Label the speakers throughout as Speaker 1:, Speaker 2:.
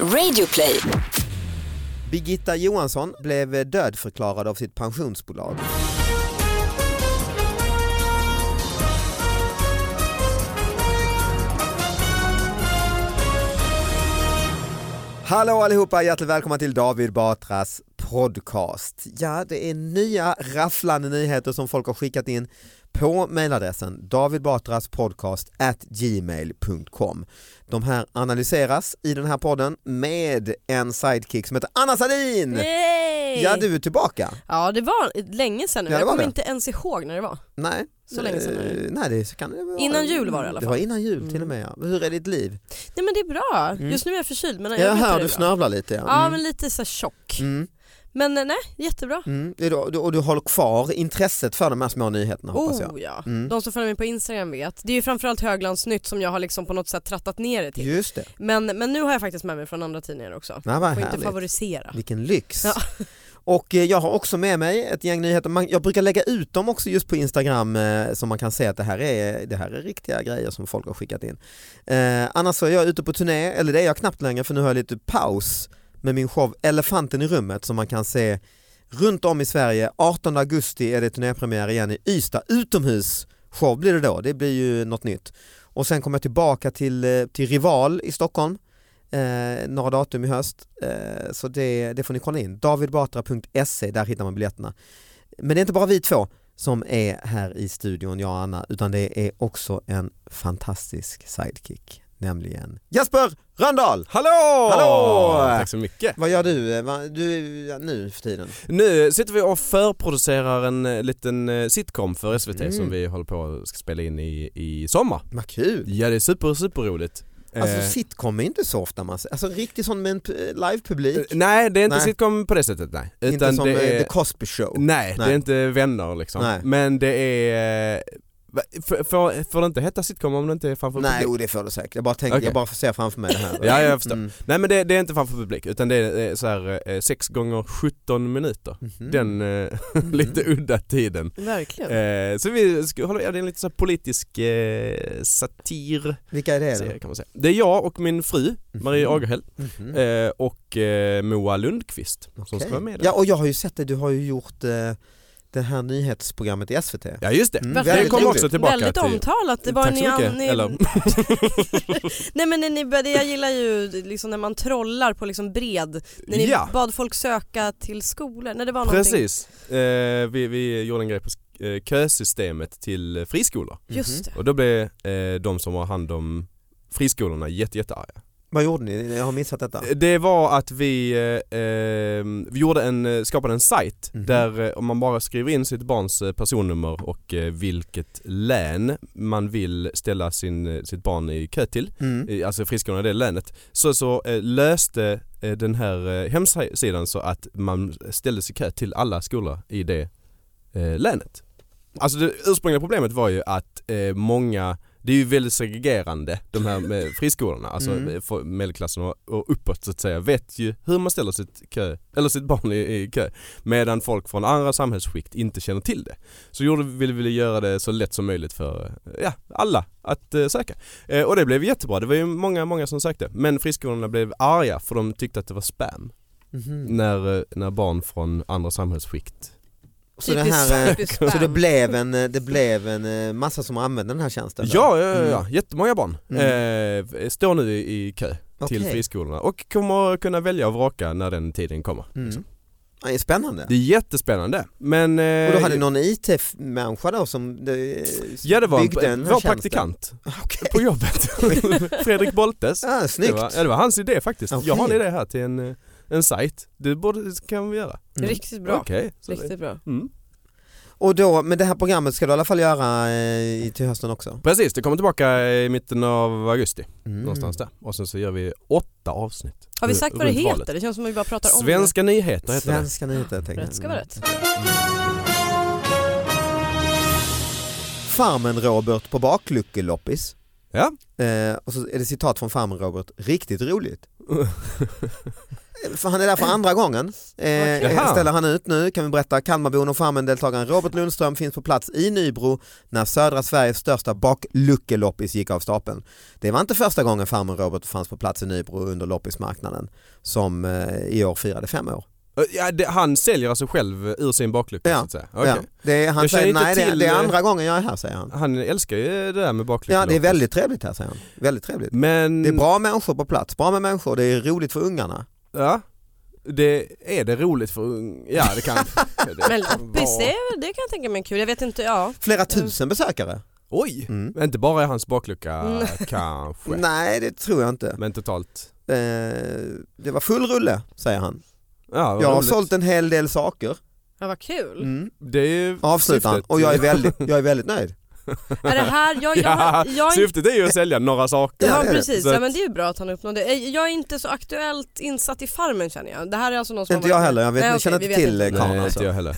Speaker 1: Radioplay.
Speaker 2: Birgitta Johansson blev dödförklarad av sitt pensionsbolag. Hallå allihopa, hjärtligt välkomna till David Batras podcast. Ja, det är nya rafflande nyheter som folk har skickat in på mejladressen davidbatraspodcast@gmail.com. De här analyseras i den här podden med en sidekick som heter Anna Sadin.
Speaker 3: Yay!
Speaker 2: Ja, du är tillbaka.
Speaker 3: Ja, det var länge sedan nu.
Speaker 2: Ja, det
Speaker 3: jag
Speaker 2: var
Speaker 3: kommer
Speaker 2: det.
Speaker 3: inte ens ihåg när det var.
Speaker 2: Nej,
Speaker 3: Så länge sedan är
Speaker 2: Eh, Nej, det så kan det vara.
Speaker 3: Innan jul var det i alla
Speaker 2: Det var innan jul till och med. Ja. Hur är ditt liv?
Speaker 3: Nej men det är bra. Just nu är jag förkyld men jag,
Speaker 2: Mm. Jag
Speaker 3: vet hur
Speaker 2: hör
Speaker 3: det
Speaker 2: du
Speaker 3: är bra.
Speaker 2: snörvlar lite. Ja.
Speaker 3: Ja
Speaker 2: Mm.
Speaker 3: men lite så här tjock.
Speaker 2: Mm.
Speaker 3: Men eh, nej, jättebra.
Speaker 2: Mm. Det är då- du- Och du håller kvar intresset för de här små nyheterna hoppas jag.
Speaker 3: Oh ja.
Speaker 2: Mm.
Speaker 3: De som följer mig på Instagram vet. Det är ju framförallt Höglandsnytt som jag har liksom på något sätt trattat ner det till.
Speaker 2: Just det,
Speaker 3: Men, men nu har jag faktiskt med mig från andra tidningar också.
Speaker 2: Nej, vad
Speaker 3: Får inte
Speaker 2: härligt.
Speaker 3: favorisera.
Speaker 2: Vilken lyx.
Speaker 3: Ja.
Speaker 2: Och eh, jag har också med mig ett gäng nyheter. Man- Jag brukar lägga ut dem också just på Instagram eh, så man kan se att det här är, det här är riktiga grejer som folk har skickat in. Eh, annars så är jag ute på turné, eller det är jag knappt längre för nu har jag lite paus med min show Elefanten i rummet som man kan se runt om i Sverige. 18 augusti är det turnépremiär igen i Ystad, utomhus show blir det då, det blir ju något nytt. Och sen kommer jag tillbaka till, eh, till Rival i Stockholm eh, några datum i höst. Eh, så det, det får ni kolla in. Davidbatra.se, där hittar man biljetterna. Men det är inte bara vi två som är här i studion, jag och Anna, utan det är också en fantastisk sidekick, nämligen Jesper Röndahl!
Speaker 4: Hallå!
Speaker 2: Hallå!
Speaker 4: Tack så mycket.
Speaker 2: Vad gör du, eh, va- du ja, nu för tiden?
Speaker 4: Nu sitter vi och förproducerar en eh, liten eh, sitcom för SVT
Speaker 2: Mm.
Speaker 4: som vi håller på och ska spela in i, i sommar.
Speaker 2: Vad kul!
Speaker 4: Ja det är super, Eh, super roligt.
Speaker 2: Alltså sitcom är inte så ofta man ser, alltså riktigt sån med en p- livepublik.
Speaker 4: nej det är inte
Speaker 2: Nej.
Speaker 4: sitcom på det sättet nej.
Speaker 2: Inte som eh,
Speaker 4: Eh, det är,
Speaker 2: The Cosby Show.
Speaker 4: nej,
Speaker 2: Nej.
Speaker 4: det är inte vänner liksom.
Speaker 2: Nej.
Speaker 4: Men det är... eh, va- f- Får, får det inte heta sitcom om det inte är framför
Speaker 2: Nej,
Speaker 4: publik?
Speaker 2: jo, det får du säkert. Jag bara tänkte,
Speaker 4: Okej.
Speaker 2: jag bara ser framför mig det här.
Speaker 4: Ja, jag förstår.
Speaker 2: Mm.
Speaker 4: Nej men det, det är inte framför publik utan det är eh, så här eh, 6 gånger 17 minuter.
Speaker 2: Mhm.
Speaker 4: Den eh, lite udda tiden.
Speaker 3: Verkligen.
Speaker 4: Eh, så vi ska hålla, ja, det är en lite så här politisk eh, satir
Speaker 2: Vilka är det då?
Speaker 4: serie kan man säga. Det är jag och min fru Marie
Speaker 2: Mhm.
Speaker 4: Agerhäll
Speaker 2: Mhm.
Speaker 4: eh, och eh, Moa Lundqvist som
Speaker 2: Okej.
Speaker 4: ska vara med där.
Speaker 2: Ja och jag har ju sett det, du har ju gjort eh, det här nyhetsprogrammet i SVT.
Speaker 4: Ja just det,
Speaker 2: Mm,
Speaker 3: Varför
Speaker 4: det
Speaker 2: väldigt
Speaker 4: kommer
Speaker 2: roligt.
Speaker 4: också tillbaka
Speaker 3: Väldigt
Speaker 4: till...
Speaker 3: omtalat. Det var
Speaker 4: Tack
Speaker 3: ni,
Speaker 4: så mycket.
Speaker 3: ni,
Speaker 4: Eller,
Speaker 3: Nej men när ni började, jag gillar ju liksom när man trollar på liksom bred, när ni
Speaker 4: ja,
Speaker 3: bad folk söka till skolor, när det var någonting.
Speaker 4: precis. Eh, vi, vi gjorde en grej på sk- eh, kösystemet till friskolor.
Speaker 2: Mhm.
Speaker 3: Just det.
Speaker 4: Och då blev eh, de som har hand om friskolorna jätte, jättearga.
Speaker 2: Vad gjorde ni? Jag har missat detta.
Speaker 4: Det var att vi, eh, eh, vi gjorde en, eh, skapade en sajt
Speaker 2: Mhm.
Speaker 4: där eh, om man bara skriver in sitt barns eh, personnummer och eh, vilket län man vill ställa sin, eh, sitt barn i kö till,
Speaker 2: Mm.
Speaker 4: i- alltså friskolorna i det länet, så, så eh, löste eh, den här eh, hemsidan så att man ställde sig i kö till alla skolor i det eh, länet. Alltså det ursprungliga problemet var ju att eh, många det är ju väldigt segregerande de här med friskolorna, alltså
Speaker 2: Mm.
Speaker 4: eh, för- medelklassen och, och uppåt så att säga vet ju hur man ställer sitt, kö, eller sitt barn i, i kö medan folk från andra samhällsskikt inte känner till det. Så gjorde, ville vi göra det så lätt som möjligt för eh, ja, alla att eh, söka. Eh, och det blev jättebra, det var ju många, många som sökte men friskolorna blev arga för de tyckte att det var spam
Speaker 2: Mhm.
Speaker 4: när, eh, när barn från andra samhällsskikt
Speaker 2: Så, det här, eh,
Speaker 3: typiskt
Speaker 2: så det
Speaker 3: spam.
Speaker 2: blev en, eh, det blev en eh, massa som använde den här tjänsten? då?
Speaker 4: Ja, ja, ja,
Speaker 2: Mm.
Speaker 4: ja. jättemånga barn eh, står nu i, i kö till
Speaker 2: Okej.
Speaker 4: friskolorna och kommer kunna välja och vraka när den tiden kommer.
Speaker 2: Mm. Ja, det är spännande.
Speaker 4: Det är jättespännande men... eh,
Speaker 2: Och då hade någon IT-människa då som eh,
Speaker 4: Ja det var en,
Speaker 2: byggde den här
Speaker 4: vår
Speaker 2: tjänsten?
Speaker 4: praktikant
Speaker 2: Okej.
Speaker 4: på jobbet, Fredrik Boltes.
Speaker 2: Ah,
Speaker 4: Det
Speaker 2: snyggt.
Speaker 4: var, ja, det var hans idé faktiskt. Jag har en
Speaker 2: Okej.
Speaker 4: idé här till en, eh, en sajt. Det borde, kan vi göra.
Speaker 2: Mm.
Speaker 3: Riktigt bra.
Speaker 4: Okej. så det-
Speaker 3: Riktigt bra.
Speaker 4: Mm.
Speaker 2: Och då, men det här programmet ska du i alla fall göra eh, i- till hösten också?
Speaker 4: Precis, det kommer tillbaka i mitten av augusti
Speaker 2: Mm.
Speaker 4: någonstans där. Och sen så gör vi åtta avsnitt.
Speaker 3: Har vi
Speaker 4: ru-
Speaker 3: sagt vad det
Speaker 4: runt
Speaker 3: heter?
Speaker 4: valet.
Speaker 3: Det känns som att vi bara pratar om
Speaker 4: Svenska nyheter heter det.
Speaker 2: Svenska nyheter tänkte
Speaker 3: det.
Speaker 2: jag. Mm.
Speaker 3: Rätt ska vara rätt.
Speaker 2: Farmen-Robert på bakluckeloppis.
Speaker 4: Ja.
Speaker 2: Eh, och så är det citat från Farmen-Robert, riktigt roligt. För han är där för andra gången. Eh,
Speaker 4: Jaha.
Speaker 2: ställer han ut nu kan vi berätta. Kalmarbon och Farmen-deltagaren Robert Lundström finns på plats i Nybro när södra Sveriges största bakluckeloppis gick av stapeln. Det var inte första gången Farmen Robert fanns på plats i Nybro under loppismarknaden som eh, i år firade fem år.
Speaker 4: Eh, Ja, det, han säljer alltså själv ur sin baklucka
Speaker 2: Ja,
Speaker 4: så att säga. Okej.
Speaker 2: Ja, det är, han
Speaker 4: Jag känner
Speaker 2: säger
Speaker 4: inte
Speaker 2: nej det,
Speaker 4: till-
Speaker 2: det är andra gången jag är här säger han.
Speaker 4: Han älskar ju det där med baklucka.
Speaker 2: Ja det är väldigt trevligt här säger han. Väldigt trevligt.
Speaker 4: Men,
Speaker 2: Det är bra människor på plats, bra med människor, det är roligt för ungarna.
Speaker 4: ja. Det, är det roligt för ung... Ja det kan det
Speaker 3: Men
Speaker 4: kan
Speaker 3: loppis,
Speaker 4: vara-
Speaker 3: det, är- det kan jag tänka mig är kul. Jag vet inte, ja.
Speaker 2: Flera tusen besökare.
Speaker 4: Oj!
Speaker 2: Mm.
Speaker 4: Men inte bara i hans baklucka
Speaker 3: Mm.
Speaker 4: kanske.
Speaker 2: Nej det tror jag inte.
Speaker 4: Men totalt.
Speaker 2: Eh, det var full rulle säger han.
Speaker 4: Ja, vad
Speaker 2: Jag har
Speaker 4: roligt.
Speaker 2: sålt en hel del saker.
Speaker 3: Ja, vad kul.
Speaker 2: Mm.
Speaker 4: Det är ju
Speaker 2: Avslutar han
Speaker 4: syftet.
Speaker 2: och jag är väldigt, jag är väldigt nöjd.
Speaker 3: Är det här, jag, jag,
Speaker 4: Ja,
Speaker 3: har- jag, jag,
Speaker 4: Syftet är ju att sälja några saker.
Speaker 2: Ja,
Speaker 3: ja
Speaker 2: det är det.
Speaker 3: precis,
Speaker 4: Så att-
Speaker 3: ja, men det är ju bra att han uppnådde det. Eh, Jag är inte så aktuellt insatt i Farmen känner jag. Det här är alltså någon som
Speaker 2: Inte
Speaker 3: har
Speaker 2: jag
Speaker 3: varit-
Speaker 2: heller, jag, vet,
Speaker 3: Nej,
Speaker 2: jag
Speaker 3: okej,
Speaker 2: känner
Speaker 3: vi
Speaker 2: inte
Speaker 3: vet
Speaker 2: till
Speaker 3: inte.
Speaker 2: inte.
Speaker 4: Nej,
Speaker 2: Kanon
Speaker 4: inte
Speaker 2: alltså.
Speaker 4: jag heller.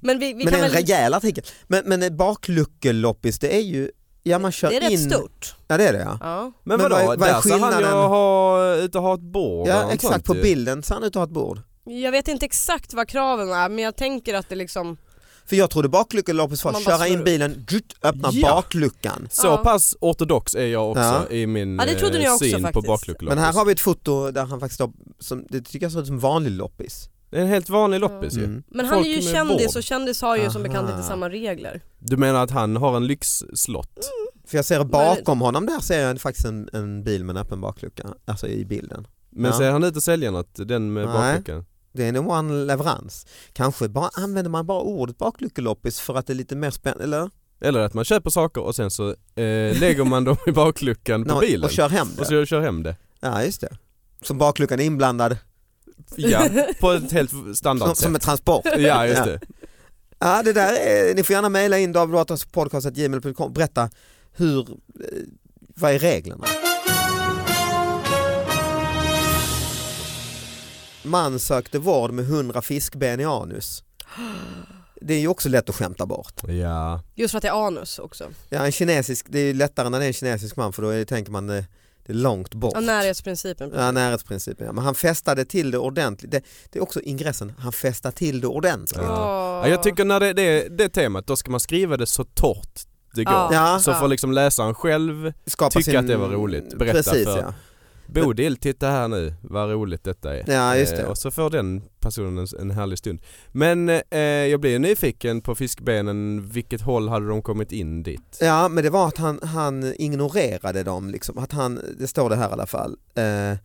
Speaker 3: Men vi, vi
Speaker 2: Men det
Speaker 3: kan
Speaker 2: är en
Speaker 3: väl,
Speaker 2: rejäl artikel. Men, men en bakluckeloppis det är ju, ja man kör
Speaker 3: det är rätt
Speaker 2: in.
Speaker 3: stort.
Speaker 2: Ja det är det ja.
Speaker 3: Ja.
Speaker 4: Men,
Speaker 2: Men
Speaker 4: vadå,
Speaker 2: vad är- vad är
Speaker 4: där ser han ju
Speaker 2: skillnaden?
Speaker 4: ha, ut och ha ett bord eller
Speaker 2: Ja
Speaker 4: något
Speaker 2: exakt,
Speaker 4: sånt
Speaker 2: på
Speaker 4: ju.
Speaker 2: bilden ser han ut att ha ett bord.
Speaker 3: Jag vet inte exakt vad kraven är men jag tänker att det liksom,
Speaker 2: För jag trodde bakluckeloppis var att
Speaker 3: Man bara
Speaker 2: köra
Speaker 3: slår
Speaker 2: in
Speaker 3: upp.
Speaker 2: bilen, djutt, öppna
Speaker 4: Ja.
Speaker 2: bakluckan.
Speaker 4: Så
Speaker 3: Ja.
Speaker 4: pass ortodox är jag också
Speaker 2: Ja.
Speaker 4: i min
Speaker 3: Ja, det trodde
Speaker 4: eh,
Speaker 3: jag också
Speaker 4: syn på
Speaker 3: faktiskt.
Speaker 4: bakluckeloppis.
Speaker 2: Men här har vi ett foto där han faktiskt har, som, det tycker jag ser ut som vanlig loppis.
Speaker 4: Det är en helt vanlig loppis ju.
Speaker 2: Mm.
Speaker 3: men han
Speaker 4: Folk
Speaker 3: är ju
Speaker 4: med
Speaker 3: kändis
Speaker 4: vård.
Speaker 3: och kändis har ju som bekant
Speaker 2: Aha.
Speaker 3: inte samma regler.
Speaker 4: Du menar att han har en lyxslott?
Speaker 2: För jag ser bakom honom där ser jag faktiskt en, en bil med en öppen baklucka, alltså i bilden.
Speaker 4: Men
Speaker 2: Ja.
Speaker 4: ser han ut att sälja något, den med
Speaker 2: Nej.
Speaker 4: bakluckan?
Speaker 2: Det är nog bara en leverans. Kanske bara använder man bara ordet bakluckeloppis för att det är lite mer spännande, eller?
Speaker 4: Eller att man köper saker och sen så eh, lägger man dem i bakluckan på
Speaker 2: Nå,
Speaker 4: bilen
Speaker 2: Och kör hem det.
Speaker 4: och så kör hem det.
Speaker 2: Ja, just det. Som bakluckan är inblandad,
Speaker 4: Ja, på ett helt
Speaker 2: som,
Speaker 4: standard
Speaker 2: som
Speaker 4: sätt.
Speaker 2: en transport.
Speaker 4: Ja, just det.
Speaker 2: Ja, det där är, ni får gärna mejla in davidbatraspodcast.gmail.com berätta hur, eh, vad är reglerna? Man sökte vård med 100 fiskben i anus. Det är ju också lätt att skämta bort.
Speaker 4: Ja.
Speaker 3: Just för att det är anus också.
Speaker 2: Ja, en kinesisk, det är ju lättare när det är en kinesisk man för då är, tänker man eh, det är långt bort.
Speaker 3: Ja, närhetsprincipen.
Speaker 2: Ja, närhetsprincipen. Ja. Men han festade till det ordentligt. Det, det är också ingressen, han festade till det ordentligt.
Speaker 4: Ja.
Speaker 3: Åh.
Speaker 4: Ja, jag tycker när det, det är det temat, då ska man skriva det så torrt det går.
Speaker 3: Ja.
Speaker 2: Ja.
Speaker 4: Så får liksom läsaren själv,
Speaker 2: Skapa
Speaker 4: Tycka att det var roligt. Berätta
Speaker 2: Precis,
Speaker 4: för-
Speaker 2: ja.
Speaker 4: Bodil titta här nu vad roligt detta är.
Speaker 2: Ja, just det.
Speaker 4: Eh, och så får den personen en, en härlig stund. Men eh, jag blir nyfiken på fiskbenen, vilket håll hade de kommit in dit?
Speaker 2: Ja men det var att han, han ignorerade dem, liksom. att han, det står det här i alla fall. Eh,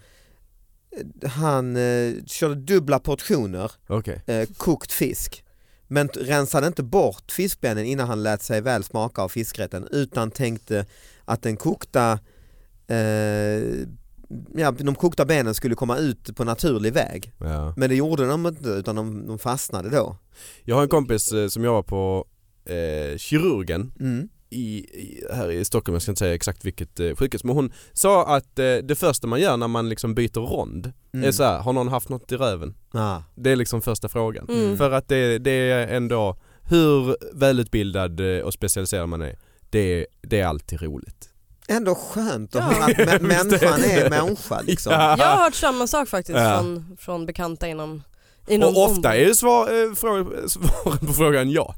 Speaker 2: han eh, körde dubbla portioner
Speaker 4: Okej.
Speaker 2: eh, kokt fisk men t- rensade inte bort fiskbenen innan han lät sig väl smaka av fiskrätten utan tänkte att den kokta eh, ja, de kokta benen skulle komma ut på naturlig väg.
Speaker 4: Ja.
Speaker 2: Men det gjorde de inte utan de, de fastnade då.
Speaker 4: Jag har en kompis eh, som jobbar på eh, kirurgen
Speaker 2: Mm.
Speaker 4: i, i, här i Stockholm, jag ska inte säga exakt vilket eh, sjukhus, men hon sa att eh, det första man gör när man liksom byter rond
Speaker 2: Mm.
Speaker 4: är så här, har någon haft något i röven?
Speaker 2: Ja.
Speaker 4: Det är liksom första frågan.
Speaker 3: Mm.
Speaker 4: För att det, det är ändå, hur välutbildad eh, och specialiserad man är, det, det är alltid roligt.
Speaker 2: Ändå skönt att
Speaker 3: Ja.
Speaker 2: höra att mä-
Speaker 4: Visst är
Speaker 2: människan
Speaker 4: det.
Speaker 2: är människa liksom.
Speaker 3: Jag har hört samma sak faktiskt
Speaker 4: Ja.
Speaker 3: från, från bekanta inom, inom
Speaker 4: Och ofta är ju svar, eh, frå- svaren på frågan ja.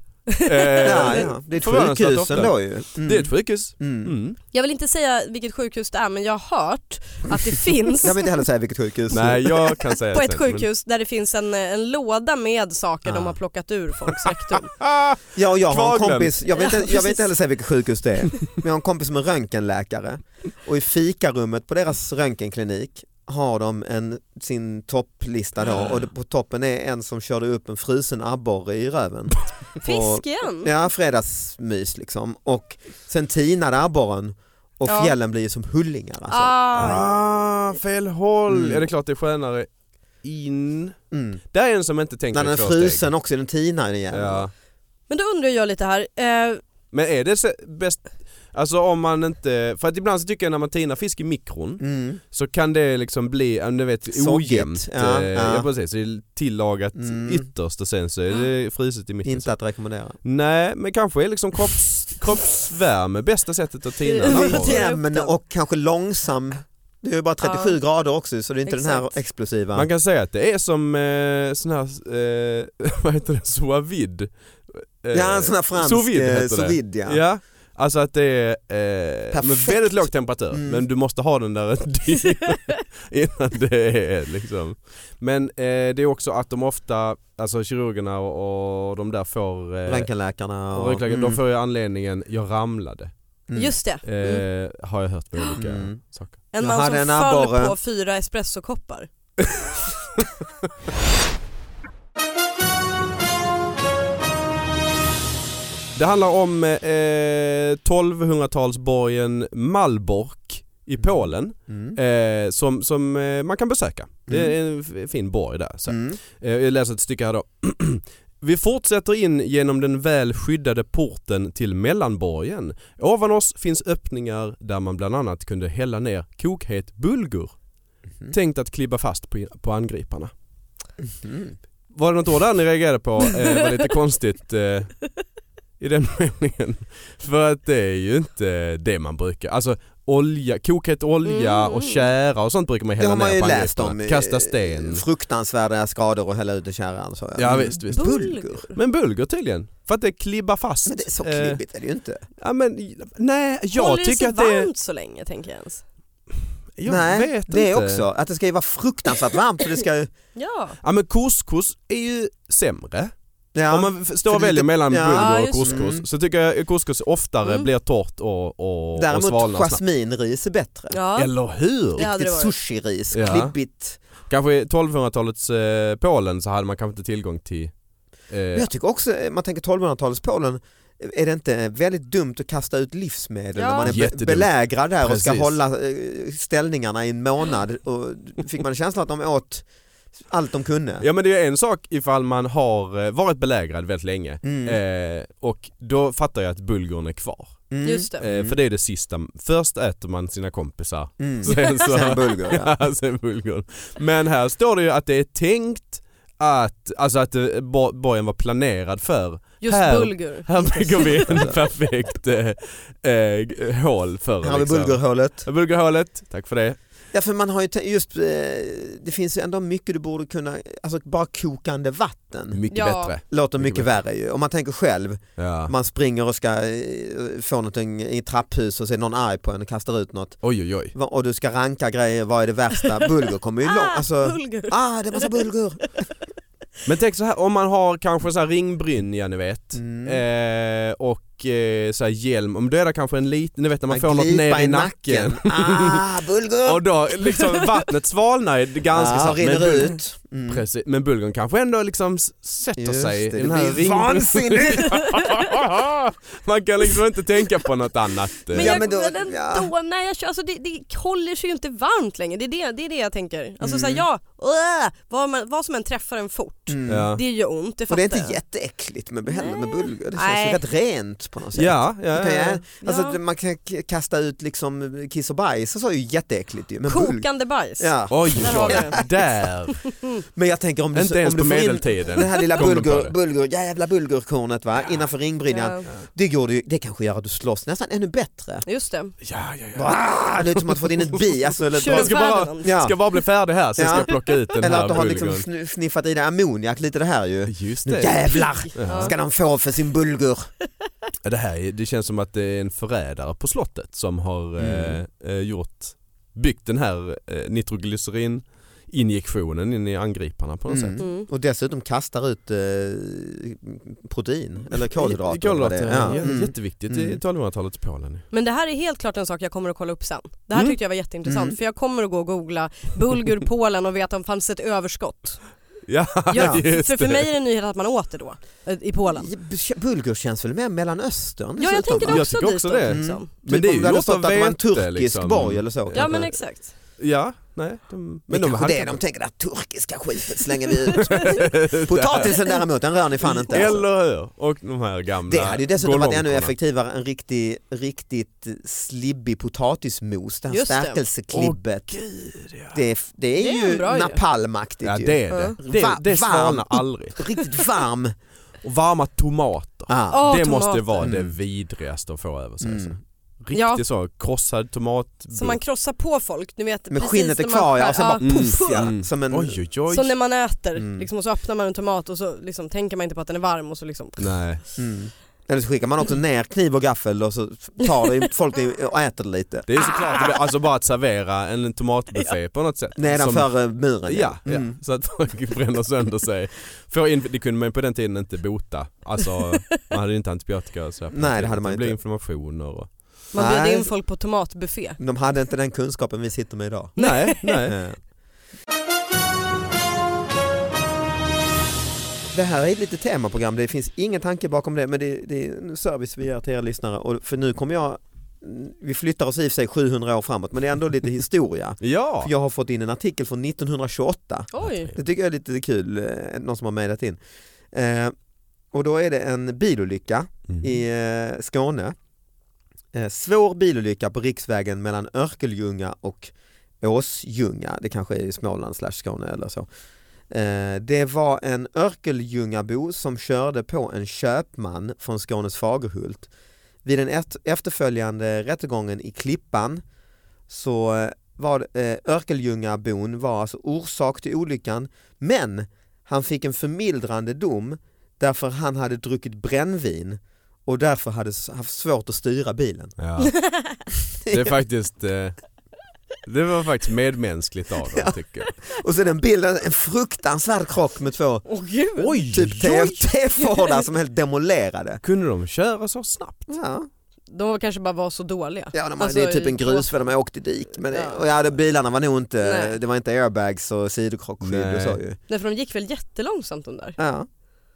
Speaker 4: Eh,
Speaker 2: Ja, ja. Det är ett
Speaker 4: Förvånansvärt
Speaker 2: sjukhus
Speaker 4: ofta.
Speaker 2: ändå ju. Mm.
Speaker 4: Det är ett sjukhus.
Speaker 2: mm.
Speaker 4: Mm.
Speaker 3: Jag vill inte säga vilket sjukhus det är men jag har hört att det finns
Speaker 2: Jag vill inte heller säga vilket sjukhus.
Speaker 4: Nej jag kan säga
Speaker 3: på
Speaker 4: det
Speaker 3: ett
Speaker 4: sen, men-
Speaker 3: sjukhus där det finns en, en låda med saker de
Speaker 2: Ah.
Speaker 3: har plockat ur folks rektum.
Speaker 4: Ah!
Speaker 2: Ja, och jag har en
Speaker 4: Kvaglund.
Speaker 2: kompis, jag vill, inte,
Speaker 3: Ja,
Speaker 2: jag vill
Speaker 3: precis.
Speaker 2: inte heller säga vilket sjukhus det är, men jag har en kompis som är röntgenläkare och i fikarummet på deras röntgenklinik har de en, sin topplista då och det- på toppen är en som körde upp en frusen abborre i röven.
Speaker 3: Fisk igen!
Speaker 2: Ja, fredagsmys liksom. Och sen tinade abborren och
Speaker 3: Ja.
Speaker 2: fjällen blir ju som hullingar. Alltså.
Speaker 3: Ah,
Speaker 4: Ah, fel håll!
Speaker 2: Mm.
Speaker 4: Ja det är klart det är skönare in.
Speaker 2: Mm.
Speaker 4: Där är en som inte
Speaker 2: När
Speaker 4: tänker
Speaker 2: den är
Speaker 4: i två
Speaker 2: frusen också, den tinar igen.
Speaker 4: steg. Ja.
Speaker 3: men då undrar jag lite här, eh,
Speaker 4: Men är det så- bäst, alltså om man inte, för att ibland så tycker jag när man tinar fisk i mikron
Speaker 2: Mm.
Speaker 4: så kan det liksom bli, ja, men du vet
Speaker 2: Sogigt.
Speaker 4: ojämnt.
Speaker 2: Ja,
Speaker 4: Eh,
Speaker 2: ja.
Speaker 4: ja precis, det är tillagat
Speaker 2: Mm.
Speaker 4: ytterst och sen så är det fruset i mitten.
Speaker 2: Inte att rekommendera.
Speaker 4: Nej men kanske är liksom kropps, kroppsvärme bästa sättet att tina en
Speaker 3: Ja,
Speaker 2: Den
Speaker 3: men-
Speaker 4: abborre.
Speaker 2: är Jämn och kanske långsam. Det är ju bara 37 grader också så det är inte den här
Speaker 3: Exakt.
Speaker 2: explosiva.
Speaker 4: Man kan säga att det är som eh, sån här, eh, vad heter det, sous vide. Eh,
Speaker 2: ja, en sån här fransk
Speaker 4: sous vide
Speaker 2: eh,
Speaker 4: heter
Speaker 2: sous
Speaker 4: det.
Speaker 2: vide, ja.
Speaker 4: Ja. alltså att det är eh, med
Speaker 2: Perfekt.
Speaker 4: väldigt låg temperatur
Speaker 2: Mm.
Speaker 4: men du måste ha den där en dygn innan det är liksom. Men eh, det är också att de ofta, alltså kirurgerna och, och de där får, eh,
Speaker 2: Röntgenläkarna
Speaker 4: och
Speaker 2: och...
Speaker 4: röntgenläkare, de får ju anledningen, jag ramlade.
Speaker 2: mm.
Speaker 3: Just det.
Speaker 4: Eh,
Speaker 3: Mm.
Speaker 4: Har jag hört på olika
Speaker 2: Mm.
Speaker 4: saker.
Speaker 3: En
Speaker 2: jag
Speaker 3: man som
Speaker 2: hade en
Speaker 3: föll
Speaker 2: abborre.
Speaker 3: på fyra espressokoppar.
Speaker 4: Det handlar om eh, 1200-talsborgen Malbork i
Speaker 2: Mm.
Speaker 4: Polen
Speaker 2: Mm.
Speaker 4: eh, som, som eh, man kan besöka. Det är en f- fin borg där. Så.
Speaker 2: Mm.
Speaker 4: Eh, Jag läser ett stycke här då. Vi fortsätter in genom den väl skyddade porten till mellanborgen. Ovan oss finns öppningar där man bland annat kunde hälla ner kokhet bulgur.
Speaker 2: Mhm.
Speaker 4: Tänkt att klibba fast på, på angriparna.
Speaker 2: Mm.
Speaker 4: Var det något ord där ni reagerade på? Eh, var lite konstigt eh, i den meningen. För att det är ju inte det man brukar. Alltså olja, kokhet olja
Speaker 3: Mm.
Speaker 4: och tjära och sånt brukar man
Speaker 2: Det
Speaker 4: hälla
Speaker 2: har
Speaker 4: ner
Speaker 2: man ju
Speaker 4: på
Speaker 2: läst
Speaker 4: angriparna.
Speaker 2: om. eh,
Speaker 4: Kasta sten.
Speaker 2: Fruktansvärda skador och hälla ut i kärran. Så. Mm.
Speaker 4: Ja, visst, visst.
Speaker 2: Bulgur.
Speaker 4: Men bulgur tydligen. För att det klibbar fast.
Speaker 2: Men det är så
Speaker 4: Eh,
Speaker 2: klibbigt är det ju inte.
Speaker 4: Ja men, nej jag
Speaker 3: Håller
Speaker 4: tycker
Speaker 3: sig
Speaker 4: att det är...
Speaker 3: varmt så länge tänker jag ens.
Speaker 4: Jag
Speaker 2: Nej,
Speaker 4: vet
Speaker 2: det
Speaker 4: inte.
Speaker 2: är också. Att det ska ju vara fruktansvärt varmt så det ska ju...
Speaker 3: Ja.
Speaker 4: Ja men couscous är ju sämre.
Speaker 2: Ja.
Speaker 4: Om man f- står
Speaker 2: Så
Speaker 4: och
Speaker 2: det är
Speaker 4: väljer
Speaker 2: lite-
Speaker 4: mellan
Speaker 2: ja,
Speaker 4: bulgur och
Speaker 3: just det.
Speaker 4: couscous
Speaker 2: Mm.
Speaker 4: så tycker jag couscous oftare
Speaker 3: Mm.
Speaker 4: blir torrt och, och, och
Speaker 2: Däremot
Speaker 4: svalnar snabbt.
Speaker 2: jasminris är bättre.
Speaker 3: ja.
Speaker 4: Eller hur?
Speaker 3: Ja. hade det
Speaker 2: Riktigt
Speaker 3: varit.
Speaker 2: sushiris,
Speaker 4: Ja.
Speaker 2: klibbigt.
Speaker 4: Kanske i 1200-talets eh, Polen så hade man kanske inte tillgång till... Eh,
Speaker 2: Men Jag tycker också, eh, man tänker 1200-talets Polen, är det inte väldigt dumt att kasta ut livsmedel
Speaker 3: Ja.
Speaker 2: när man är be-
Speaker 4: Jättedumt.
Speaker 2: belägrad där och ska
Speaker 4: Precis.
Speaker 2: hålla eh, ställningarna i en månad? Och fick man känslan att de åt allt de kunde?
Speaker 4: Ja men det är en sak ifall man har eh, varit belägrad väldigt länge
Speaker 2: Mm.
Speaker 4: eh, och då fattar jag att bulgurn är kvar.
Speaker 2: Mm.
Speaker 3: Just det.
Speaker 4: Eh, för det är det sista. Först äter man sina kompisar
Speaker 2: Mm.
Speaker 4: Sen så-
Speaker 2: Sen bulgur, ja.
Speaker 4: Ja, sen bulgur. Men här står det ju att det är tänkt att, alltså att eh, bo- borgen var planerad för.
Speaker 3: Just
Speaker 4: här-
Speaker 3: bulgur.
Speaker 4: Här bygger vi en perfekt eh, eh, hål för
Speaker 2: Här har vi
Speaker 4: liksom.
Speaker 2: bulgurhålet.
Speaker 4: Bulgurhålet, tack för det.
Speaker 2: Ja för man har ju te- just, eh, det finns ju ändå mycket du borde kunna, alltså bara kokande vatten
Speaker 4: Mycket
Speaker 3: Ja.
Speaker 4: bättre.
Speaker 2: låter
Speaker 4: Mm. Mycket
Speaker 2: mycket värre ju. Om man tänker själv,
Speaker 4: Ja.
Speaker 2: man springer och ska eh, få någonting i trapphus och ser någon arg på en och kastar ut något.
Speaker 4: Oj oj oj.
Speaker 2: Va- Och du ska ranka grejer, vad är det värsta? Bulgur kommer ju långt.
Speaker 3: Ah,
Speaker 2: Alltså,
Speaker 3: bulgur.
Speaker 2: ah, det var så
Speaker 4: Eh,
Speaker 2: bulgur.
Speaker 4: Men tänk så här om man har kanske så här ringbrynja ni vet.
Speaker 2: Mm.
Speaker 4: Eh, och eh, så här hjälm, om du är där kanske en liten, ni vet när man, får något
Speaker 2: glipa
Speaker 4: ner i nacken.
Speaker 2: Ah, bulgur.
Speaker 4: Och då liksom vattnet svalnar ganska
Speaker 2: ah,
Speaker 4: snabbt. men
Speaker 2: rinner
Speaker 4: bulgurn-
Speaker 2: ut. Mm.
Speaker 4: Precis, men bulgurn kanske ändå liksom s- sätter
Speaker 2: Just
Speaker 4: sig
Speaker 2: det,
Speaker 4: i den
Speaker 2: det
Speaker 4: här
Speaker 2: blir
Speaker 4: ringbryn-
Speaker 2: vansinnigt.
Speaker 4: Man kan liksom inte tänka på något annat. eh.
Speaker 3: Men,
Speaker 2: Ja, men
Speaker 3: jag, men,
Speaker 2: då-
Speaker 3: ändå,
Speaker 2: ja.
Speaker 3: nej, jag, kör- alltså, det, det håller sig ju inte varmt längre. Det är det, det, är det jag tänker. Alltså
Speaker 2: Mm.
Speaker 3: såhär, ja, äh, vad, man, vad som än träffar en fort.
Speaker 2: Mm.
Speaker 4: Ja,
Speaker 3: Det är ju ont, det
Speaker 2: Och
Speaker 3: fattar
Speaker 2: det är inte
Speaker 3: jag.
Speaker 2: jätteäckligt med, heller med
Speaker 3: Nej.
Speaker 2: bulgur, det känns ju
Speaker 3: Nej.
Speaker 2: rätt rent på något sätt.
Speaker 4: ja, ja,
Speaker 2: Kan
Speaker 4: ja.
Speaker 2: jag, alltså,
Speaker 3: Ja.
Speaker 2: att Man kan k- kasta ut liksom kiss och bajs och så är ju jätteäckligt ju. Men, bulg,
Speaker 3: Kokande bajs.
Speaker 2: ja.
Speaker 4: Oj,
Speaker 3: Där har vi det.
Speaker 4: där.
Speaker 2: men jag tänker om du,
Speaker 4: inte ens
Speaker 2: om du
Speaker 4: på
Speaker 2: får in
Speaker 4: medeltiden.
Speaker 2: det här lilla
Speaker 4: kom de på
Speaker 2: bulgur,
Speaker 4: det.
Speaker 2: bulgur, jävla bulgurkornet va, innanför ringbrynjan.
Speaker 3: Ja,
Speaker 2: Det, går ju, det kanske gör att du slåss nästan ännu bättre.
Speaker 3: Just det.
Speaker 4: Ja, ja, ja.
Speaker 2: Ah, det är som att du fått in ett bi. Alltså, eller,
Speaker 4: Tjuren
Speaker 3: Tjuren
Speaker 4: ska bara-
Speaker 3: Ferdinand.
Speaker 2: ja.
Speaker 4: Ska bara bli färdig här, sen ska
Speaker 2: Ja.
Speaker 4: jag plocka ut den
Speaker 2: eller
Speaker 4: här
Speaker 2: att du har liksom
Speaker 4: bulgurn.
Speaker 2: snu- sniffat i dig ammoniak, lite det här ju.
Speaker 4: Just
Speaker 2: Nu
Speaker 4: det.
Speaker 2: jävlar
Speaker 4: Ja.
Speaker 2: ska de få för sin bulgur.
Speaker 4: Ja, Det, här, är- det känns som att det är en förrädare på slottet som har
Speaker 2: Mm.
Speaker 4: eh, eh, gjort, byggt den här eh, nitroglycerin injektionen in i angriparna på något sätt.
Speaker 2: Mm.
Speaker 3: Mm.
Speaker 2: Och dessutom kastar ut eh, protein, eller kolhydrater. eller vad det är.
Speaker 4: Kolhydrater,
Speaker 2: Ja.
Speaker 4: ja.
Speaker 2: Mm.
Speaker 4: Jätteviktigt i
Speaker 2: Mm.
Speaker 4: 1200-talets Polen.
Speaker 3: Men det här är helt klart en sak jag kommer att kolla upp sen. Det här
Speaker 4: Mm.
Speaker 3: tyckte jag var jätteintressant
Speaker 2: Mm.
Speaker 3: för jag kommer att gå och googla bulgur Polen och veta om det fanns ett överskott.
Speaker 4: Ja,
Speaker 3: Ja,
Speaker 4: just
Speaker 3: för, för
Speaker 4: det.
Speaker 3: mig är det en nyhet att man åt det då eh, i Polen.
Speaker 2: Bulgur känns väl mer Mellanöstern?
Speaker 3: Ja jag
Speaker 2: dessutom,
Speaker 3: tänker
Speaker 2: va?
Speaker 3: också
Speaker 4: Jag tycker
Speaker 3: dit
Speaker 4: också
Speaker 3: då,
Speaker 4: det.
Speaker 3: Liksom.
Speaker 4: Mm.
Speaker 2: Mm.
Speaker 4: Men det är ju
Speaker 2: Typ om hade
Speaker 4: något
Speaker 2: stått
Speaker 4: av
Speaker 2: att det var en
Speaker 4: vete,
Speaker 2: turkisk
Speaker 4: liksom.
Speaker 2: borg eller så.
Speaker 3: Ja
Speaker 2: kanske.
Speaker 3: men exakt.
Speaker 4: Ja, nej. De,
Speaker 2: Men det är kanske det de
Speaker 4: kanske-
Speaker 2: tänker, det här turkiska skiten slänger vi ut. Potatisen däremot, den rör ni fan inte. alltså.
Speaker 4: Eller hur? Och de här gamla
Speaker 2: Det hade ju dessutom varit ännu
Speaker 4: golongkorna.
Speaker 2: effektivare än riktig, riktigt slibbig potatismos, det här
Speaker 3: Just det.
Speaker 2: stärkelseklibbet.
Speaker 4: Gud, ja.
Speaker 2: det, är- det är
Speaker 3: Det är en
Speaker 2: ju
Speaker 3: bra idé.
Speaker 2: napalmaktigt
Speaker 4: Ja
Speaker 2: ju.
Speaker 4: det är det.
Speaker 2: Ja.
Speaker 4: Det,
Speaker 2: Va-
Speaker 4: det svalnar
Speaker 2: varm.
Speaker 4: aldrig.
Speaker 2: Riktigt varm.
Speaker 4: Och varma tomater.
Speaker 2: Ah.
Speaker 3: Ja,
Speaker 4: det
Speaker 3: tomater.
Speaker 4: måste vara det
Speaker 2: Mm.
Speaker 4: vidrigaste att få över sig.
Speaker 2: Mm.
Speaker 4: Alltså. Riktig
Speaker 3: Ja.
Speaker 4: så krossad tomat.
Speaker 3: Så man krossar på folk, du vet
Speaker 2: Men
Speaker 3: precis
Speaker 2: skinnet är
Speaker 3: när man
Speaker 2: kvar ja,
Speaker 3: skär-
Speaker 2: och sen bara
Speaker 4: Mm.
Speaker 2: puff,
Speaker 4: Mm.
Speaker 2: ja, som en...
Speaker 4: Oj oj oj.
Speaker 3: Som när man äter,
Speaker 2: Mm.
Speaker 3: liksom, och så öppnar man en tomat och så liksom, tänker man inte på att den är varm och så liksom
Speaker 4: Nej.
Speaker 2: Mm. Eller så skickar man också ner kniv och gaffel och så tar det, folk det och äter det lite.
Speaker 4: Det är såklart, det blir- alltså bara att servera en tomatbuffé på något sätt.
Speaker 2: Ah! Nedanför eh, muren
Speaker 4: Ja, ja.
Speaker 2: Mm.
Speaker 4: så att folk bränner sönder sig. Får in, det kunde man ju på den tiden inte bota. Alltså man hade ju inte antibiotika och så här på
Speaker 2: Nej,
Speaker 4: den
Speaker 2: det
Speaker 4: tiden.
Speaker 2: hade man
Speaker 4: Det blev
Speaker 2: inte.
Speaker 4: inflammationer och...
Speaker 3: Man bjöd
Speaker 2: Nej.
Speaker 3: in folk på tomatbuffé.
Speaker 2: De hade inte den kunskapen vi sitter med idag.
Speaker 4: Nej, nej.
Speaker 2: Eh. Det här är ett litet temaprogram, det finns ingen tanke bakom det men det, det är en service vi ger till er lyssnare. Och för nu kommer jag, vi flyttar oss i och för sig 700 år framåt men det är ändå lite historia.
Speaker 4: Ja!
Speaker 2: För jag har fått in en artikel från 1928
Speaker 3: Oj!
Speaker 2: Det tycker jag är lite kul, eh, någon som har mejlat in. Eh, och då är det en bilolycka
Speaker 4: Mm.
Speaker 2: i eh, Skåne. Eh, svår bilolycka på riksvägen mellan Örkelljunga och Åsljunga. Det kanske är i Småland slash Skåne eller så. Eh, det var en Örkelljungabo som körde på en köpman från Skånes Fagerhult. Vid den ett- efterföljande rättegången i Klippan så eh, var det- eh, Örkelljungabon var alltså orsak till olyckan men han fick en förmildrande dom därför han hade druckit brännvin och därför hade s- haft svårt att styra bilen.
Speaker 4: Ja. Det är faktiskt... Eh, det var faktiskt medmänskligt av dem tycker jag.
Speaker 2: Och så den bilden, en fruktansvärd krock med två
Speaker 3: Åh gud!
Speaker 4: Oj,
Speaker 2: typ TFT-fordar som helt demolerade.
Speaker 4: Kunde de köra så snabbt?
Speaker 2: Ja,
Speaker 3: De kanske bara var så dåliga.
Speaker 2: ja de,
Speaker 3: Alltså,
Speaker 2: det är typ
Speaker 3: i-
Speaker 2: en grusväg, de har åkt i dik. Men
Speaker 3: Ja.
Speaker 2: ja. Och ja, de, bilarna var nog inte,
Speaker 3: Nej.
Speaker 2: det var inte airbags och sidokrockskydd och så
Speaker 4: Nej.
Speaker 2: ju.
Speaker 3: Nej för de gick väl jättelångsamt de där?
Speaker 2: Ja.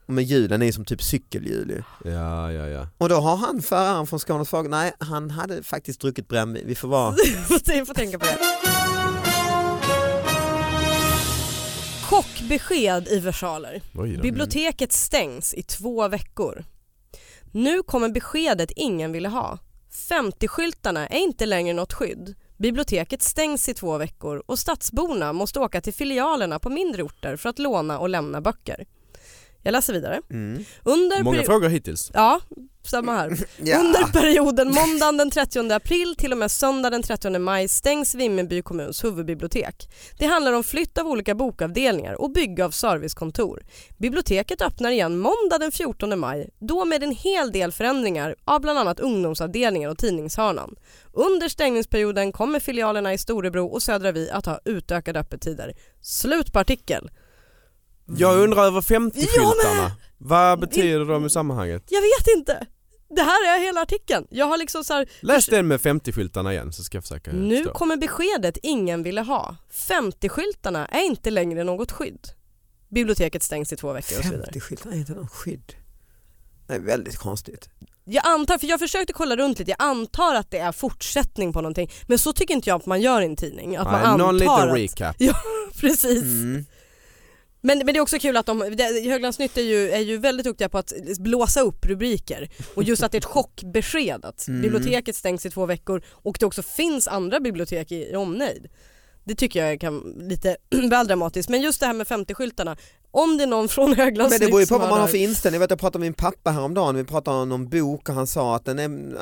Speaker 2: Men hjulen är ju som typ cykelhjul ju.
Speaker 4: Ja, ja, ja.
Speaker 2: Och då har han föraren från Skånes Fag, nej han hade faktiskt druckit brännvin, vi får vara...
Speaker 3: Jag får tänka på det. Chockbesked i versaler.
Speaker 4: Oj då.
Speaker 3: Biblioteket stängs i två veckor. Nu kommer beskedet ingen ville ha. 50-skyltarna är inte längre något skydd. Biblioteket stängs i två veckor och stadsborna måste åka till filialerna på mindre orter för att låna och lämna böcker. Jag läser vidare.
Speaker 2: Mm.
Speaker 3: Under
Speaker 4: Många
Speaker 3: peri-
Speaker 4: frågor hittills.
Speaker 3: Ja, samma här. Under perioden måndagen den 30 april till och med söndagen den 30 maj stängs Vimmerby kommuns huvudbibliotek. Det handlar om flytt av olika bokavdelningar och bygge av servicekontor. Biblioteket öppnar igen måndag den 14 maj, då med en hel del förändringar av bland annat ungdomsavdelningen och tidningshörnan. Under stängningsperioden kommer filialerna i Storebro och Södra Vi att ha utökade öppettider. Slut på artikel.
Speaker 4: Jag undrar över 50-skyltarna. Vad betyder de i sammanhanget?
Speaker 3: Jag vet inte. Det här är hela artikeln. Jag har liksom så här,
Speaker 4: Läs den med 50-skyltarna igen så ska jag försöka
Speaker 3: Nu
Speaker 4: förstå.
Speaker 3: kommer beskedet ingen ville ha. 50-skyltarna är inte längre något skydd. Biblioteket stängs i två veckor och så vidare.
Speaker 2: 50 skyltar är inte någon skydd. Det är väldigt konstigt.
Speaker 3: Jag antar, för jag försökte kolla runt lite, jag antar att det är fortsättning på någonting. Men så tycker inte jag att man gör i en tidning. Att man
Speaker 4: Nej, någon
Speaker 3: antar
Speaker 4: liten
Speaker 3: att,
Speaker 4: recap.
Speaker 3: Precis.
Speaker 2: Mm.
Speaker 3: Men, men det är också kul att de, det- Höglands Nytt är ju, är ju väldigt duktiga på att blåsa upp rubriker och just att det är ett chockbesked att
Speaker 2: Mm.
Speaker 3: biblioteket stängs i två veckor och det också finns andra bibliotek i, i omnejd. Det tycker jag kan lite väl dramatiskt men just det här med 50-skyltarna, om det är någon från Höglands
Speaker 2: Men det beror ju
Speaker 3: Nytt
Speaker 2: på
Speaker 3: som
Speaker 2: vad man har
Speaker 3: hör
Speaker 2: för
Speaker 3: det här-
Speaker 2: inställning. Jag, vet, jag pratade med min pappa häromdagen, vi pratade om någon bok och han sa att den är, eh,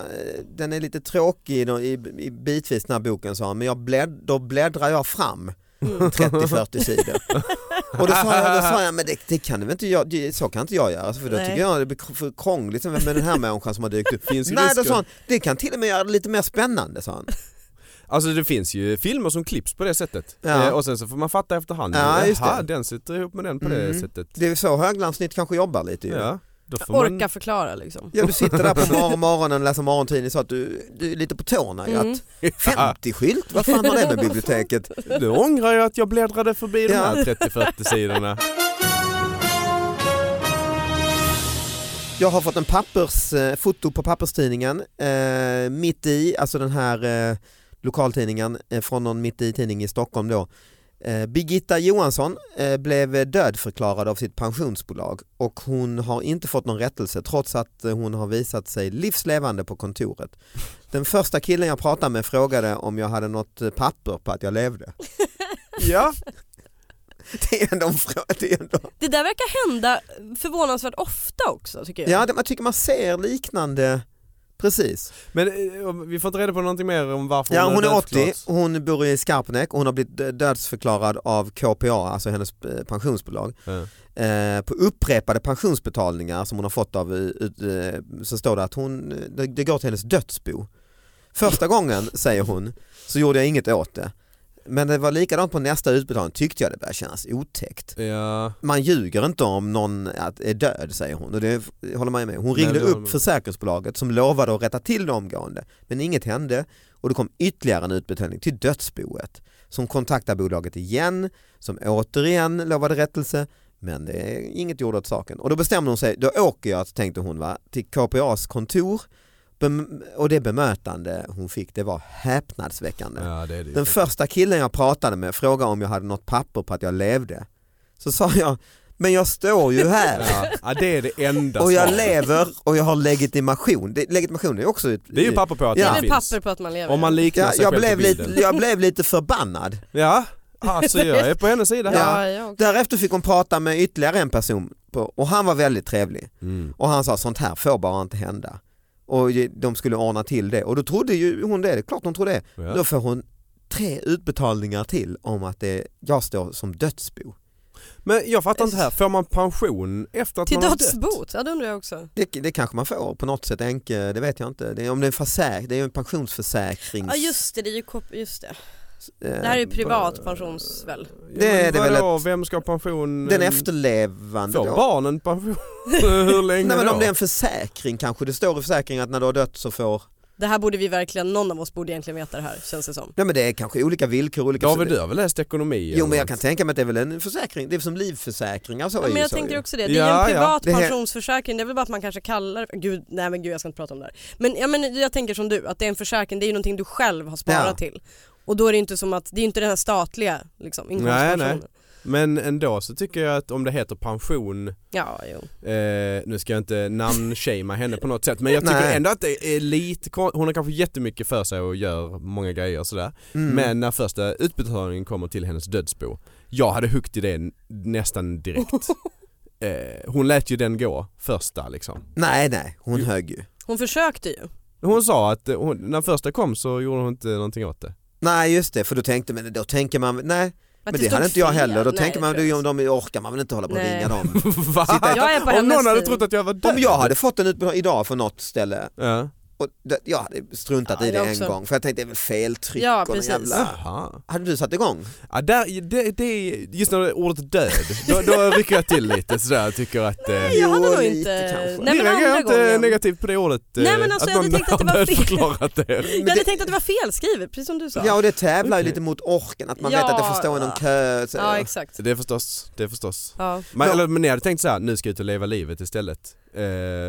Speaker 2: den är lite tråkig då- i, i bitvis den här boken sa han, men jag blädd, då bläddrar jag fram
Speaker 3: Mm.
Speaker 2: 30-40 sidor. och då sa jag, då sa jag men det, det kan du väl inte jag, det, så kan inte jag göra, Alltså, för då
Speaker 3: Nej.
Speaker 2: tycker jag det blir k- för krångligt med den här människan som har dykt upp.
Speaker 4: Finns ju
Speaker 2: Nej, då
Speaker 4: risker.
Speaker 2: sa han, det kan till och med göra det lite mer spännande sa han.
Speaker 4: Alltså det finns ju filmer som klipps på det sättet.
Speaker 2: Ja.
Speaker 4: Eh, och sen så får man fatta efterhand.
Speaker 2: Ja, just
Speaker 4: Jaha,
Speaker 2: det.
Speaker 4: den sitter ihop med den på det
Speaker 2: Mm.
Speaker 4: sättet.
Speaker 2: Det är så Höglandsnytt kanske jobbar lite ju.
Speaker 4: Ja, då får man...
Speaker 3: Orka förklara liksom.
Speaker 2: Ja, du sitter där på morgon, morgonen och läser morgontidning så att du, du är lite på tårna. ju
Speaker 3: Mm.
Speaker 2: Att 50-skylt, vad fan har det med biblioteket?
Speaker 4: Nu ångrar jag att jag bläddrade förbi de
Speaker 2: Ja.
Speaker 4: här 30-40 sidorna.
Speaker 2: Jag har fått en pappers, eh, foto på papperstidningen eh, mitt i, alltså den här eh, lokaltidningen eh, från någon mitt i tidning i Stockholm då. Eh, Birgitta Johansson eh, blev dödförklarad av sitt pensionsbolag och hon har inte fått någon rättelse trots att eh, hon har visat sig livslevande på kontoret. Den första killen jag pratade med frågade om jag hade något eh, papper på att jag levde.
Speaker 4: Ja,
Speaker 2: Det är ändå en fråga. Det är ändå...
Speaker 3: Det där verkar hända förvånansvärt ofta också tycker jag.
Speaker 2: Ja, det, man tycker man ser liknande Precis.
Speaker 4: Men eh, vi får inte reda på någonting mer om varför
Speaker 2: Ja, hon är 80,
Speaker 4: dödförklarad.
Speaker 2: hon bor i Skarpnäck och hon har blivit dö- dödsförklarad av KPA, alltså hennes eh, pensionsbolag.
Speaker 4: Ja.
Speaker 2: Eh, på upprepade pensionsbetalningar som hon har fått av, eh, ut- eh, så står det att hon, det, det går till hennes dödsbo. Första gången, säger hon, så gjorde jag inget åt det. Men det var likadant på nästa utbetalning, tyckte jag det började kännas otäckt.
Speaker 4: Ja,
Speaker 2: Man ljuger inte om någon att- är död säger hon och det håller man ju med. Hon
Speaker 4: Nej,
Speaker 2: ringde
Speaker 4: det håller man
Speaker 2: upp
Speaker 4: med.
Speaker 2: försäkringsbolaget som lovade att rätta till det omgående men inget hände och det kom ytterligare en utbetalning till dödsboet som kontaktade bolaget igen som återigen lovade rättelse men det är inget gjorde åt saken och då bestämde hon sig, då åker jag tänkte hon va, till KPAs kontor Bem- och det bemötande hon fick det var häpnadsväckande.
Speaker 4: ja det är det ju.
Speaker 2: Den första killen jag pratade med frågade om jag hade något papper på att jag levde. Så sa jag, men jag står ju här
Speaker 4: ja. ja, det är det enda
Speaker 2: och jag
Speaker 4: svaret.
Speaker 2: lever och jag har legitimation. Det, legitimation är ju också ett...
Speaker 4: Det är ju papper på att
Speaker 2: Ja.
Speaker 4: det
Speaker 3: Eller
Speaker 4: finns.
Speaker 3: papper på att man lever.
Speaker 4: Om man liknar
Speaker 2: Ja,
Speaker 4: sig
Speaker 2: jag,
Speaker 4: själv
Speaker 2: blev
Speaker 4: på
Speaker 2: lite,
Speaker 4: bilden.
Speaker 2: jag blev lite förbannad.
Speaker 4: Ja, alltså jag är på hennes sida här.
Speaker 3: ja, jag också.
Speaker 2: Därefter fick hon prata med ytterligare en person på, och han var väldigt trevlig.
Speaker 4: Mm.
Speaker 2: Och han sa sånt här får bara inte hända. Och de skulle ordna till det och då trodde ju hon det, det är klart hon trodde det. Då
Speaker 4: Ja.
Speaker 2: får hon tre utbetalningar till om att det, jag står som dödsbo.
Speaker 4: Men jag fattar inte här, får man pension efter att
Speaker 3: Till
Speaker 4: man har dött?
Speaker 3: dödsbot, ja det undrar jag också.
Speaker 2: Det, det kanske man får på något sätt, enke, det vet jag inte. Det är, om det är en, försäk, det är en pensionsförsäkrings...
Speaker 3: Ja just det, det är ju kop- just det.
Speaker 2: eh,
Speaker 3: Det här är ju privat pensions väl?
Speaker 4: Ja,
Speaker 2: Det
Speaker 4: men
Speaker 2: är det väl
Speaker 4: vadå, Vem ska ha pension?
Speaker 2: Den
Speaker 4: Eh,
Speaker 2: efterlevande
Speaker 4: Får
Speaker 2: då?
Speaker 4: barnen pension? Hur länge
Speaker 2: Nej men
Speaker 4: då?
Speaker 2: om det är en försäkring kanske, det står i försäkringen att när du har dött så får...
Speaker 3: Det här borde vi verkligen, någon av oss borde egentligen veta det här känns det som.
Speaker 2: Nej men det är kanske olika villkor, olika...
Speaker 4: David, du har väl läst ekonomi?
Speaker 2: Jo men
Speaker 4: eller
Speaker 2: jag kan tänka mig att det är väl en försäkring, det är som livförsäkringar så
Speaker 3: Ja,
Speaker 2: är
Speaker 3: men
Speaker 2: ju
Speaker 3: jag
Speaker 2: så
Speaker 3: tänker
Speaker 2: ju.
Speaker 3: också det, det är ju
Speaker 4: Ja,
Speaker 3: en
Speaker 4: ja.
Speaker 3: privat
Speaker 2: Det här-
Speaker 3: pensionsförsäkring, det är väl bara att man kanske kallar Gud, nej men gud jag ska inte prata om det här. Men, ja, men jag tänker som du, att det är en försäkring, det är ju någonting du själv har sparat
Speaker 2: Ja.
Speaker 3: till. Och då är det ju inte som att, det är ju inte den här statliga liksom, inkomstpensionen.
Speaker 4: Nej, Men ändå så tycker jag att om det heter pension
Speaker 3: Ja, jo.
Speaker 4: Eh, nu ska jag inte namnshamea henne på något sätt men jag tycker
Speaker 2: Nej.
Speaker 4: ändå att det är lite kon- Hon har kanske jättemycket för sig och gör många grejer och sådär.
Speaker 2: Mm.
Speaker 4: Men när första utbetalningen kommer till hennes dödsbo. Jag hade huggt i det n- nästan direkt. eh, hon lät ju den gå första liksom.
Speaker 2: Nej nej, hon
Speaker 4: Jo.
Speaker 2: högg ju.
Speaker 3: Hon försökte ju.
Speaker 4: Hon sa att eh, hon, när första kom så gjorde hon inte någonting åt det.
Speaker 2: Nej just det, för då tänkte man, då tänker man, nej
Speaker 3: Att
Speaker 2: men det
Speaker 3: stod
Speaker 2: hade inte jag
Speaker 3: fel.
Speaker 2: heller, då
Speaker 3: Nej,
Speaker 2: tänker man,
Speaker 3: det tror
Speaker 2: du, om de orkar man väl inte hålla på och
Speaker 3: Nej.
Speaker 2: ringa dem.
Speaker 4: Va?
Speaker 2: Sitta i-
Speaker 3: Jag är på
Speaker 4: Om någon
Speaker 3: hennes
Speaker 4: hade
Speaker 3: sida.
Speaker 4: trott att jag var död.
Speaker 2: Om jag hade fått en utbetalning idag från något ställe
Speaker 4: Ja.
Speaker 2: och det, jag hade struntat
Speaker 3: Ja,
Speaker 2: i det
Speaker 3: jag
Speaker 2: en
Speaker 3: också.
Speaker 2: gång för jag tänkte det är väl feltryck
Speaker 3: Ja,
Speaker 2: och någon
Speaker 3: precis.
Speaker 2: jävla...
Speaker 4: Jaha.
Speaker 2: Hade du satt igång?
Speaker 4: Ja, där, det, det, just när det är ordet död, då, då rycker jag till lite sådär och tycker att... eh,
Speaker 3: Nej, jag hade
Speaker 2: Jo,
Speaker 3: nog
Speaker 2: lite
Speaker 3: inte...
Speaker 2: kanske.
Speaker 3: Nej
Speaker 4: vi
Speaker 3: men
Speaker 4: reagerar
Speaker 3: andra
Speaker 4: inte
Speaker 3: gången.
Speaker 4: negativt på det ordet.
Speaker 3: Nej,
Speaker 4: eh,
Speaker 3: men alltså,
Speaker 4: att
Speaker 3: jag hade
Speaker 4: någon
Speaker 3: tänkt att det
Speaker 4: har
Speaker 3: var fel.
Speaker 4: dödförklarat det.
Speaker 3: Jag hade tänkt att det var felskrivet, precis som du sa.
Speaker 2: Ja och det tävlar ju
Speaker 4: Okej.
Speaker 2: lite mot orken att man
Speaker 3: Ja.
Speaker 2: vet att det får stå i någon kö. Så.
Speaker 3: Ja, exakt.
Speaker 4: Det är förstås, det är förstås.
Speaker 3: Ja.
Speaker 4: Men,
Speaker 2: Ja.
Speaker 4: eller, men ni hade tänkt så här, nu ska jag ut och leva livet istället. Eh,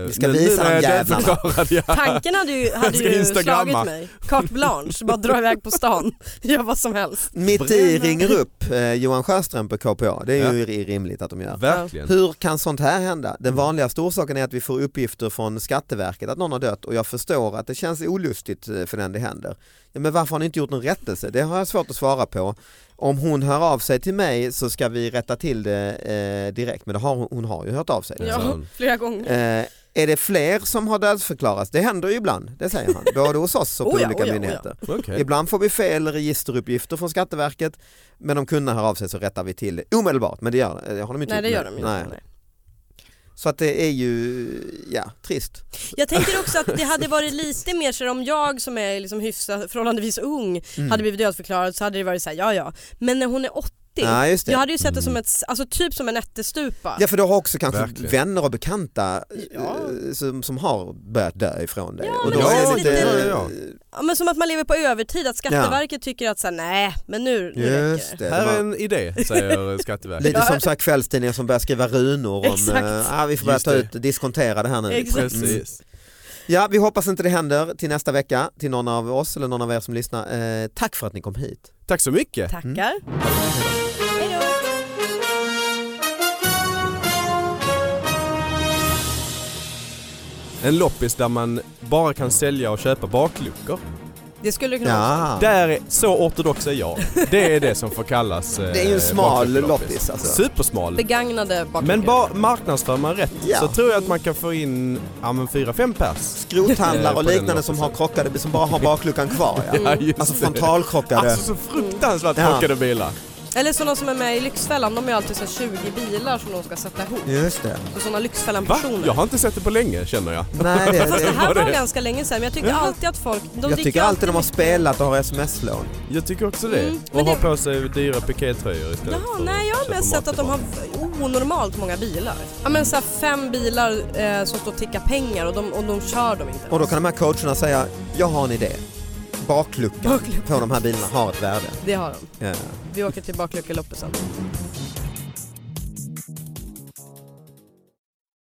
Speaker 4: Vi
Speaker 2: ska visa de jävlarna.
Speaker 4: jag.
Speaker 3: Tanken hade ju,
Speaker 4: Jag
Speaker 3: hade
Speaker 4: ska
Speaker 3: ju
Speaker 4: instagramma.
Speaker 3: slagit mig. Carte blanche, bara dra iväg på stan, göra vad som helst.
Speaker 2: Mitt i ringer upp eh, Johan Sjöström på KPA, det är
Speaker 4: Ja.
Speaker 2: ju ri- rimligt att de gör.
Speaker 4: Verkligen.
Speaker 2: Hur kan sånt här hända? Den vanligaste orsaken är att vi får uppgifter från Skatteverket att någon har dött och jag förstår att det känns olustigt eh, för den det händer. Ja, men varför har ni inte gjort någon rättelse? Det har jag svårt att svara på. Om hon hör av sig till mig så ska vi rätta till det eh, direkt men det har, hon- hon har ju hört av sig.
Speaker 4: Ja.
Speaker 3: Ja, flera gånger.
Speaker 2: Eh, är det fler som har dödsförklarats? Det händer ju ibland, det säger han. Både hos oss och på
Speaker 3: Oh ja,
Speaker 2: olika
Speaker 3: oh ja, oh ja.
Speaker 2: myndigheter.
Speaker 4: Okej.
Speaker 2: Ibland får vi fel registeruppgifter från Skatteverket men om kunderna hör av sig så rättar vi till det omedelbart. Men det, gör, eh, har de inte
Speaker 3: Nej det
Speaker 2: gjort
Speaker 3: gör
Speaker 2: nu.
Speaker 3: de ju
Speaker 2: Nej.
Speaker 3: inte. Nej.
Speaker 2: Så att det är ju, ja, trist.
Speaker 3: Jag tänker också att det hade varit lite mer så här, om jag som är liksom hyfsat, förhållandevis ung
Speaker 2: Mm.
Speaker 3: hade blivit dödförklarad så hade det varit så här, ja ja. Men när hon är 80,
Speaker 2: Ja, just det. Mm.
Speaker 3: jag hade ju sett det som ett, alltså typ som en ättestupa.
Speaker 2: Ja för du har också kanske
Speaker 4: Verkligen.
Speaker 2: vänner och bekanta eh,
Speaker 3: Ja.
Speaker 2: som, som har börjat dö ifrån dig.
Speaker 3: Ja,
Speaker 2: och
Speaker 3: men
Speaker 2: då
Speaker 3: det
Speaker 2: är
Speaker 3: känns
Speaker 2: det
Speaker 3: lite-
Speaker 2: lite,
Speaker 4: Ja,
Speaker 3: Ja, men som att man lever på övertid, att Skatteverket tycker att så här, nej men nu, nu räcker
Speaker 2: Just
Speaker 3: det.
Speaker 2: det, Mm. det
Speaker 4: Här är
Speaker 2: var
Speaker 4: en idé, säger Skatteverket.
Speaker 2: eh, lite
Speaker 3: Ja.
Speaker 2: som så här kvällstidningar som börjar skriva runor om,
Speaker 3: Exakt.
Speaker 2: eh, ah, vi får börja
Speaker 4: Just
Speaker 2: ta
Speaker 4: det.
Speaker 2: ut, diskontera det här nu.
Speaker 3: Exakt.
Speaker 4: Precis.
Speaker 2: Ja, vi hoppas inte det händer till nästa vecka till någon av oss eller någon av er som lyssnar. Eh, tack för att ni kom hit.
Speaker 4: Tack så mycket.
Speaker 3: Tackar. Hejdå.
Speaker 4: En loppis där man bara kan sälja och köpa bakluckor.
Speaker 3: Det skulle det kunna vara.
Speaker 2: Ja.
Speaker 4: Där är, så ortodox är jag. Det är det som får kallas... eh,
Speaker 2: Det är ju en smal
Speaker 4: bakluckeloppis.
Speaker 2: loppis alltså.
Speaker 4: Supersmal.
Speaker 3: Begagnade bakluckor.
Speaker 4: Men bara marknadsför man rätt
Speaker 2: Ja.
Speaker 4: så tror jag att man kan få in ja, men 4-5 pers.
Speaker 2: Skrothandlare och
Speaker 4: På den
Speaker 2: liknande som har
Speaker 4: loppisen.
Speaker 2: krockade, som bara har bakluckan kvar ja.
Speaker 4: Ja, just
Speaker 2: Alltså
Speaker 4: det.
Speaker 2: frontalkrockade.
Speaker 4: Alltså så fruktansvärt
Speaker 2: Ja.
Speaker 4: krockade bilar.
Speaker 3: Eller sådana som är med i Lyxfällan, de är alltid så här 20 bilar som de ska sätta ihop.
Speaker 2: Just det.
Speaker 3: Och sådana
Speaker 4: Va?
Speaker 3: Lyxfällan-personer.
Speaker 4: Jag har inte sett det på länge känner jag.
Speaker 2: Nej, det,
Speaker 3: Fast det
Speaker 2: det.
Speaker 3: här var
Speaker 4: det.
Speaker 3: ganska länge sedan men jag tycker alltid att folk... De
Speaker 2: Jag
Speaker 3: dricker
Speaker 2: tycker alltid de har spelat och har sms-lån.
Speaker 4: Jag tycker också det.
Speaker 3: Mm, men
Speaker 4: och har
Speaker 3: det-
Speaker 4: på sig dyra pikétröjor istället
Speaker 3: Jaha,
Speaker 4: för
Speaker 3: nej jag har
Speaker 4: köpa
Speaker 3: mest
Speaker 4: mat
Speaker 3: sett att de har
Speaker 4: tillbaka.
Speaker 3: onormalt många bilar. Ja men såhär fem bilar eh, som står och tickar pengar och de, och de kör dem inte.
Speaker 2: Och då kan de här coacherna säga, jag har en idé. Bakluckan på de här bilarna har ett värde.
Speaker 3: Det har de.
Speaker 2: Ja.
Speaker 3: Vi åker till bakluckeloppisen.